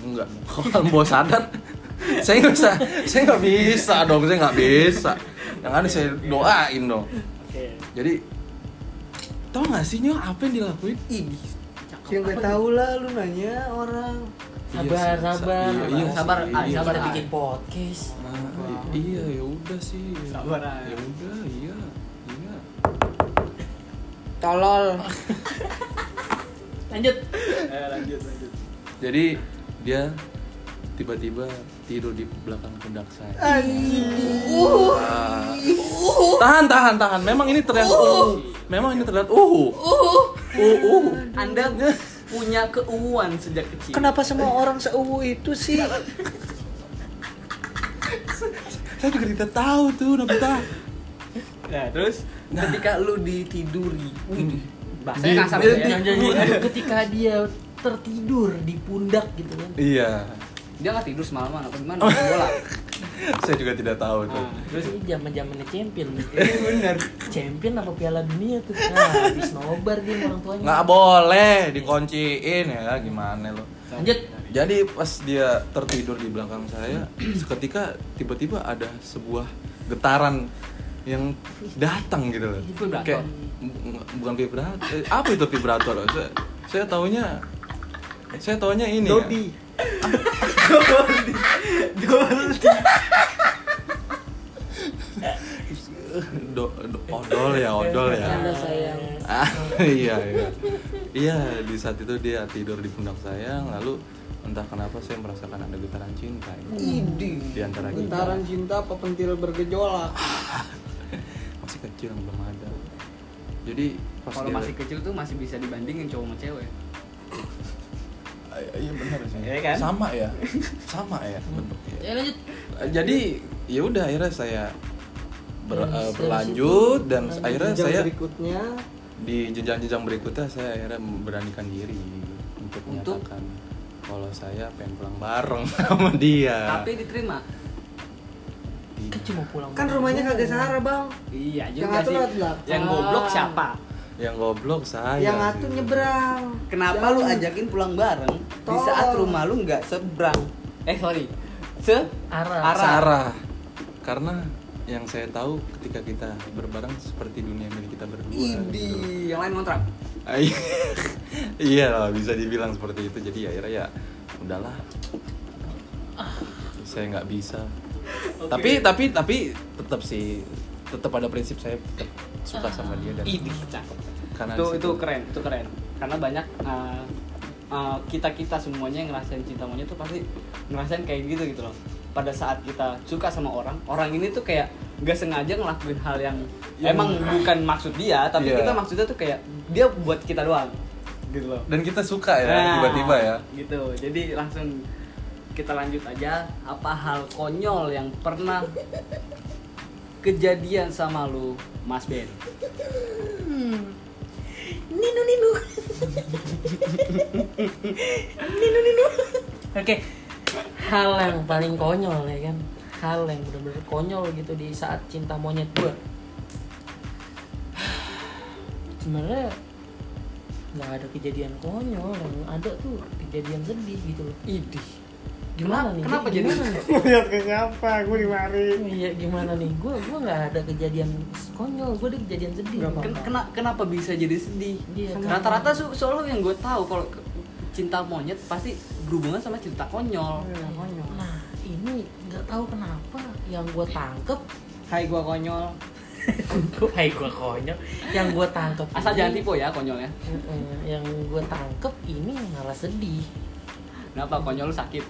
Speaker 3: Enggak, kalau mau sadar saya nggak bisa, saya nggak bisa dong, saya nggak bisa. Yang ada
Speaker 2: Iya,
Speaker 3: saya doain dong.
Speaker 2: Oke.
Speaker 3: Jadi, tau nggak sih Nyo apa yang dilakuin?
Speaker 2: Idi. Cakep.
Speaker 1: Yang gue tahu lah lu nanya orang.
Speaker 4: sabar
Speaker 3: Iya sih,
Speaker 4: sabar
Speaker 3: iya, iya,
Speaker 2: sabar, ah,
Speaker 3: iya.
Speaker 4: sabar
Speaker 2: sabar.
Speaker 4: bikin podcast
Speaker 3: Nah, i- iya ya udah sih. Ya
Speaker 2: Sabar, ah.
Speaker 3: Ya udah, iya, iya.
Speaker 1: Tolol.
Speaker 4: lanjut
Speaker 2: Eh, lanjut lanjut.
Speaker 3: Jadi dia tiba-tiba tidur di belakang pundak saya. Ah. Tahan, tahan, tahan. Memang ini terlihat uhuh. Memang ini terlihat uhuh. Uhuh. Uhuh.
Speaker 2: Anda punya keuuan sejak kecil.
Speaker 1: Kenapa semua orang seuwu itu sih?
Speaker 3: Saya juga tidak tahu tuh Nobita.
Speaker 2: Nah, terus ketika lu ditiduri, wih,
Speaker 1: Ah,
Speaker 3: Di-
Speaker 2: bahasanya kasar
Speaker 3: di-
Speaker 2: gitu
Speaker 4: Jangan,
Speaker 2: ya.
Speaker 4: jangan, jangan. ketika dia tertidur di pundak gitu kan
Speaker 3: iya.
Speaker 2: Dia nggak tidur semalaman apa gimana? Main bola.
Speaker 3: Saya juga tidak tahu tuh.
Speaker 2: Nah, terus
Speaker 4: ini zaman zamannya champion
Speaker 3: Iya,
Speaker 2: ini bener.
Speaker 4: champion apa piala dunia tuh nah habis nobar dia sama orang tuanya
Speaker 3: Nggak boleh dikunciin ya gimana lo.
Speaker 4: lanjut
Speaker 3: Jadi pas dia tertidur di belakang saya, seketika tiba-tiba ada sebuah getaran yang datang gitu loh.
Speaker 2: Vibrator.
Speaker 3: Kayak bu- bukan vibrator. eh, Apa itu vibrator? loh? Saya, saya taunya saya taunya ini. ya.
Speaker 1: Dodi.
Speaker 3: Do, do- odol ya, odol ya.
Speaker 4: Canda sayang
Speaker 3: Ah, iya, iya. Iya, di saat itu dia tidur di pundak saya, lalu entah kenapa saya merasakan ada getaran cinta. ya.
Speaker 1: Idi.
Speaker 3: Di antara kita.
Speaker 1: Getaran cinta apa pentil bergejolak?
Speaker 3: Masih kecil belum ada. Jadi pas gitu.
Speaker 2: Kalau
Speaker 3: dia-
Speaker 2: masih kecil tuh masih bisa dibandingin cowok sama cewek.
Speaker 3: Iya benar sih.
Speaker 2: Iya kan?
Speaker 3: Sama ya. Sama ya bentuknya.
Speaker 4: ya lanjut
Speaker 3: Jadi ya udah akhirnya saya ber-
Speaker 4: Dan
Speaker 3: eh,
Speaker 4: dari
Speaker 3: berlanjut
Speaker 4: situ,
Speaker 3: dan
Speaker 4: lanjut
Speaker 3: akhirnya
Speaker 1: Jenjang
Speaker 3: saya
Speaker 1: berikutnya
Speaker 3: di jenjang-jenjang berikutnya saya akhirnya memberanikan diri untuk,
Speaker 2: Untuk?
Speaker 3: menyatakan kalau saya pengen pulang bareng sama dia.
Speaker 2: Tapi diterima.
Speaker 4: kan
Speaker 3: Iya.
Speaker 4: cuma pulang
Speaker 1: kan rumahnya kagak Sahara, Bang.
Speaker 2: Iya
Speaker 1: Yang
Speaker 2: juga
Speaker 1: ngatur
Speaker 2: sih.
Speaker 1: lewat belakang.
Speaker 2: Yang goblok siapa?
Speaker 3: yang goblok saya. gitu.
Speaker 1: yang ngatu
Speaker 3: sih.
Speaker 1: nyebrang.
Speaker 2: Kenapa
Speaker 1: Jangan.
Speaker 2: lu ajakin pulang bareng di
Speaker 1: Tolong.
Speaker 2: saat rumah lu nggak seberang? Eh sorry, se
Speaker 4: Arah.
Speaker 3: Sarah. Karena yang saya tahu ketika kita berbareng seperti dunia milik kita berdua. gitu.
Speaker 2: Idi, yang lain kontrak.
Speaker 3: Ah, iya. iya lah bisa dibilang seperti itu jadi akhirnya ya udahlah saya nggak bisa tapi tapi tapi tetap sih tetap ada prinsip saya tetap suka sama dia dan
Speaker 2: Idi, cakep.
Speaker 3: karena
Speaker 2: itu
Speaker 3: di situ-
Speaker 2: itu keren itu keren karena banyak kita kita semuanya yang ngerasain cinta monyet tuh pasti ngerasain kayak gitu gitu loh pada saat kita suka sama orang orang ini tuh kayak nggak sengaja ngelakuin hal yang emang bukan maksud dia tapi
Speaker 3: Iya.
Speaker 2: kita maksudnya tuh kayak dia buat kita doang gitu loh
Speaker 3: dan kita suka ya
Speaker 2: Nah,
Speaker 3: tiba-tiba ya
Speaker 2: gitu jadi langsung kita lanjut aja apa hal konyol yang pernah kejadian sama lu Mas Ben
Speaker 4: Nino Nino. Nino Nino. Oke. Hal yang paling konyol ya kan. Hal yang bener-bener konyol gitu di saat cinta monyet gue. Sebenarnya nggak ada kejadian konyol yang ada tuh kejadian sedih gitu loh.
Speaker 2: idih
Speaker 4: Gimana nih?
Speaker 2: Kenapa
Speaker 4: Gimana
Speaker 2: jadi?
Speaker 4: nih?
Speaker 1: lihat ke siapa? Gue dimari.
Speaker 4: Iya gimana nih? Gue gue nggak ada kejadian konyol. Gue ada kejadian sedih.
Speaker 1: Nggak apa-apa.
Speaker 2: Ken- kena- kenapa bisa jadi sedih?
Speaker 4: Iya, kenapa?
Speaker 2: Rata-rata so- soalnya yang gue tahu kalau ke- cinta monyet pasti berhubungan sama cinta konyol.
Speaker 1: konyol.
Speaker 4: Nah ini nggak tahu kenapa yang gue tangkep
Speaker 1: Hai gua konyol.
Speaker 4: Hai gue konyol Yang gue tangkep
Speaker 2: Asal
Speaker 4: ini-
Speaker 2: jangan tipu ya konyolnya.
Speaker 4: Mm-mm, Yang gue tangkep ini malah sedih
Speaker 2: Kenapa konyol lu sakit?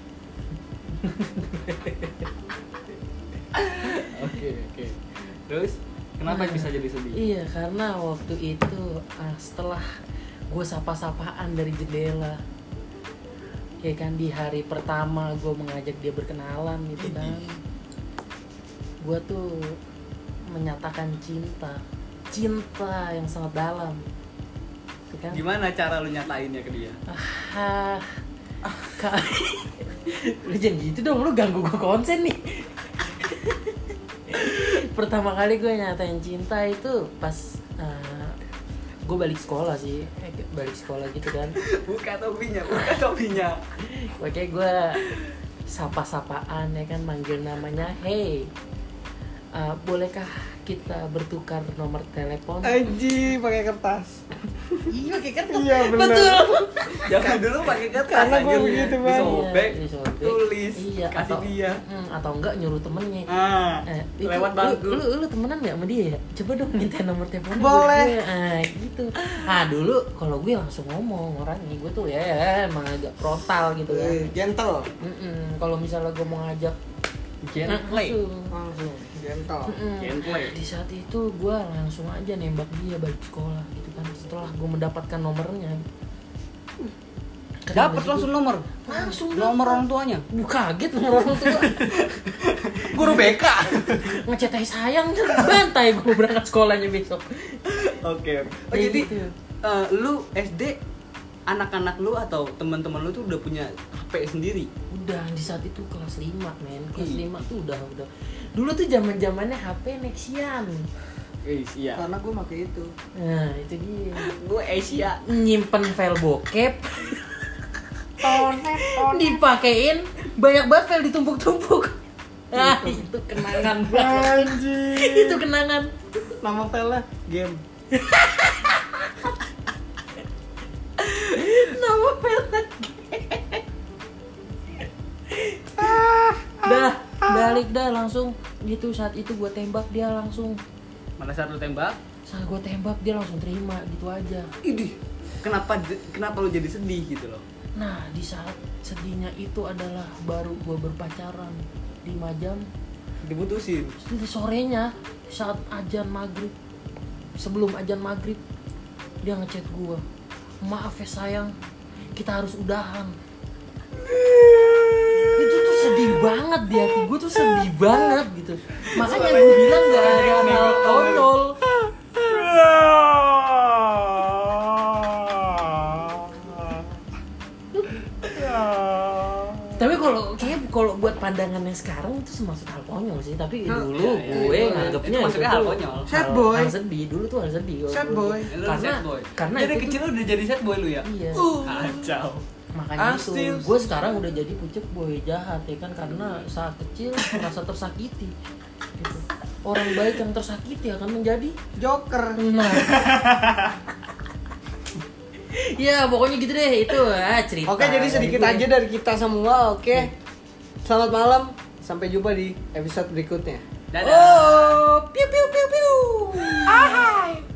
Speaker 2: Oke oke. Terus kenapa
Speaker 4: Nah,
Speaker 2: bisa jadi sedih?
Speaker 4: Iya karena waktu itu ah, setelah gue sapa-sapaan dari jendela Ya kan di hari pertama gue mengajak dia berkenalan gitu kan Gue tuh menyatakan cinta Cinta yang sangat dalam Gitu kan?
Speaker 2: Gimana cara lu nyatainnya ke dia?
Speaker 4: Ah, Kak, lu jangan gitu dong, lu ganggu gue konsen nih. Pertama kali gue nyatain cinta itu pas gue balik sekolah sih, Eh, balik sekolah gitu kan.
Speaker 2: Buka topinya, buka topinya.
Speaker 4: Oke gue sapa-sapaan ya kan, manggil namanya, hey, eh, bolehkah kita bertukar nomor telepon?
Speaker 1: Aji pakai kertas.
Speaker 4: Iya, kayak kan
Speaker 1: Iya benar.
Speaker 2: Jangan dulu pakai kertas
Speaker 1: Karena gua
Speaker 2: anjir.
Speaker 1: begitu, Bang.
Speaker 2: Disobek,
Speaker 4: Iya, disobek.
Speaker 2: tulis,
Speaker 4: Iya,
Speaker 2: kasih
Speaker 4: atau-
Speaker 2: dia.
Speaker 4: Hmm, atau enggak nyuruh temennya.
Speaker 2: Ah,
Speaker 4: Eh, itu,
Speaker 2: lewat
Speaker 4: lu-
Speaker 2: bangku.
Speaker 4: Lu, lu, temenan gak sama dia ya? Coba dong minta nomor teleponnya buat
Speaker 1: Boleh.
Speaker 4: gue. Ah, gitu. Ah, dulu kalau gue langsung ngomong orangnya gue tuh ya emang agak frontal gitu kan.
Speaker 2: Iya.
Speaker 1: Eh, Gentle.
Speaker 4: Mm-mm, Kalau misalnya gue mau ngajak
Speaker 2: Gently.
Speaker 4: langsung.
Speaker 1: Langsung gentle.
Speaker 4: Mm-mm.
Speaker 2: Gameplay.
Speaker 4: Di saat itu gue langsung aja nembak dia balik sekolah gitu kan. Setelah gue mendapatkan nomornya,
Speaker 2: Dapat langsung nomor.
Speaker 4: Langsung
Speaker 2: nomor
Speaker 4: dapet.
Speaker 2: orang tuanya. Iya.
Speaker 4: Duh kaget nomor orang tua
Speaker 3: Guru BK.
Speaker 4: ngecetai sayang tuh bantai gue berangkat sekolahnya besok
Speaker 2: Oke. Oh,
Speaker 4: Kayak
Speaker 2: jadi
Speaker 4: gitu.
Speaker 2: eh, lu SD anak-anak lu atau teman-teman lu tuh udah punya HP sendiri.
Speaker 4: udah di saat itu kelas 5 men kelas
Speaker 2: Ih.
Speaker 4: 5 tuh udah udah dulu tuh zaman zamannya HP Nexian
Speaker 2: iya.
Speaker 1: karena gue pakai itu
Speaker 4: nah itu dia
Speaker 2: Gue Asia.
Speaker 4: nyimpen file bokep dipakein banyak banget file ditumpuk-tumpuk ah itu kenangan banget
Speaker 1: anjing
Speaker 4: itu kenangan
Speaker 1: nama filenya game
Speaker 4: nama file dah balik dah langsung gitu saat itu gue tembak dia langsung
Speaker 2: Mana saat lu tembak?
Speaker 4: saat gue tembak dia langsung terima gitu aja
Speaker 2: Idih. Kenapa kenapa lu jadi sedih gitu loh?
Speaker 4: Nah, di saat sedihnya itu adalah baru gue berpacaran 5 jam
Speaker 2: Diputusin.
Speaker 4: Terus sorenya saat ajan maghrib sebelum ajan maghrib dia ngechat gue maaf ya sayang kita harus udahan itu tuh sedih banget di hati gue tuh sedih banget gitu makanya gue bilang gak ada hal tolol tapi kalau kayak kalau buat pandangannya sekarang itu semasuk hal konyol sih tapi
Speaker 1: Hah?
Speaker 4: dulu
Speaker 2: Iya, iya,
Speaker 4: gue
Speaker 2: iya.
Speaker 4: nganggapnya
Speaker 2: Itu maksudnya
Speaker 4: itu
Speaker 2: hal konyol.
Speaker 1: Sad boy.
Speaker 4: hal sedih dulu tuh hal sedih
Speaker 1: Sad boy.
Speaker 2: Eh, Lu
Speaker 4: karena
Speaker 2: sad boy.
Speaker 4: karena
Speaker 2: dari
Speaker 4: itu tuh-
Speaker 2: kecil lu udah jadi sad boy lu ya?
Speaker 4: Iya.
Speaker 2: Kacau.
Speaker 4: Makanya
Speaker 1: I'm Uh,
Speaker 4: itu,
Speaker 1: ah, still-
Speaker 4: gue sekarang udah jadi pucuk boy jahat ya kan karena saat kecil merasa tersakiti. Gitu. Orang baik yang tersakiti akan menjadi
Speaker 1: joker
Speaker 4: nah. ya pokoknya gitu deh itu ah, cerita. ya.
Speaker 1: Oke, jadi
Speaker 4: dari
Speaker 1: sedikit
Speaker 4: gue.
Speaker 1: aja dari kita semua. Oke, selamat malam. Sampai jumpa di episode berikutnya.
Speaker 2: Dadah.
Speaker 4: Oh, piu piu piu piu. Ahai.